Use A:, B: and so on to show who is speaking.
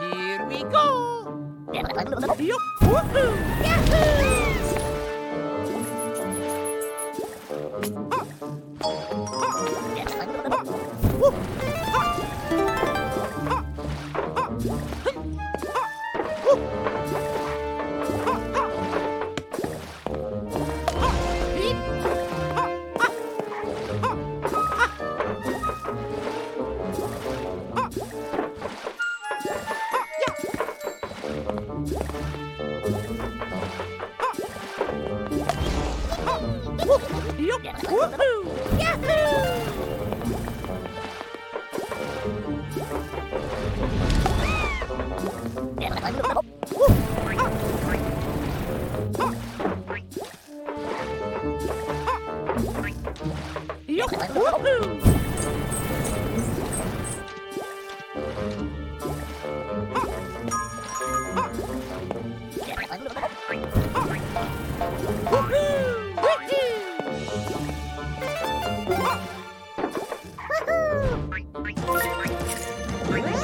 A: Here we go. Yup. Yup. Woohoo. Yup. Woohoo. Woohoo. Woohoo.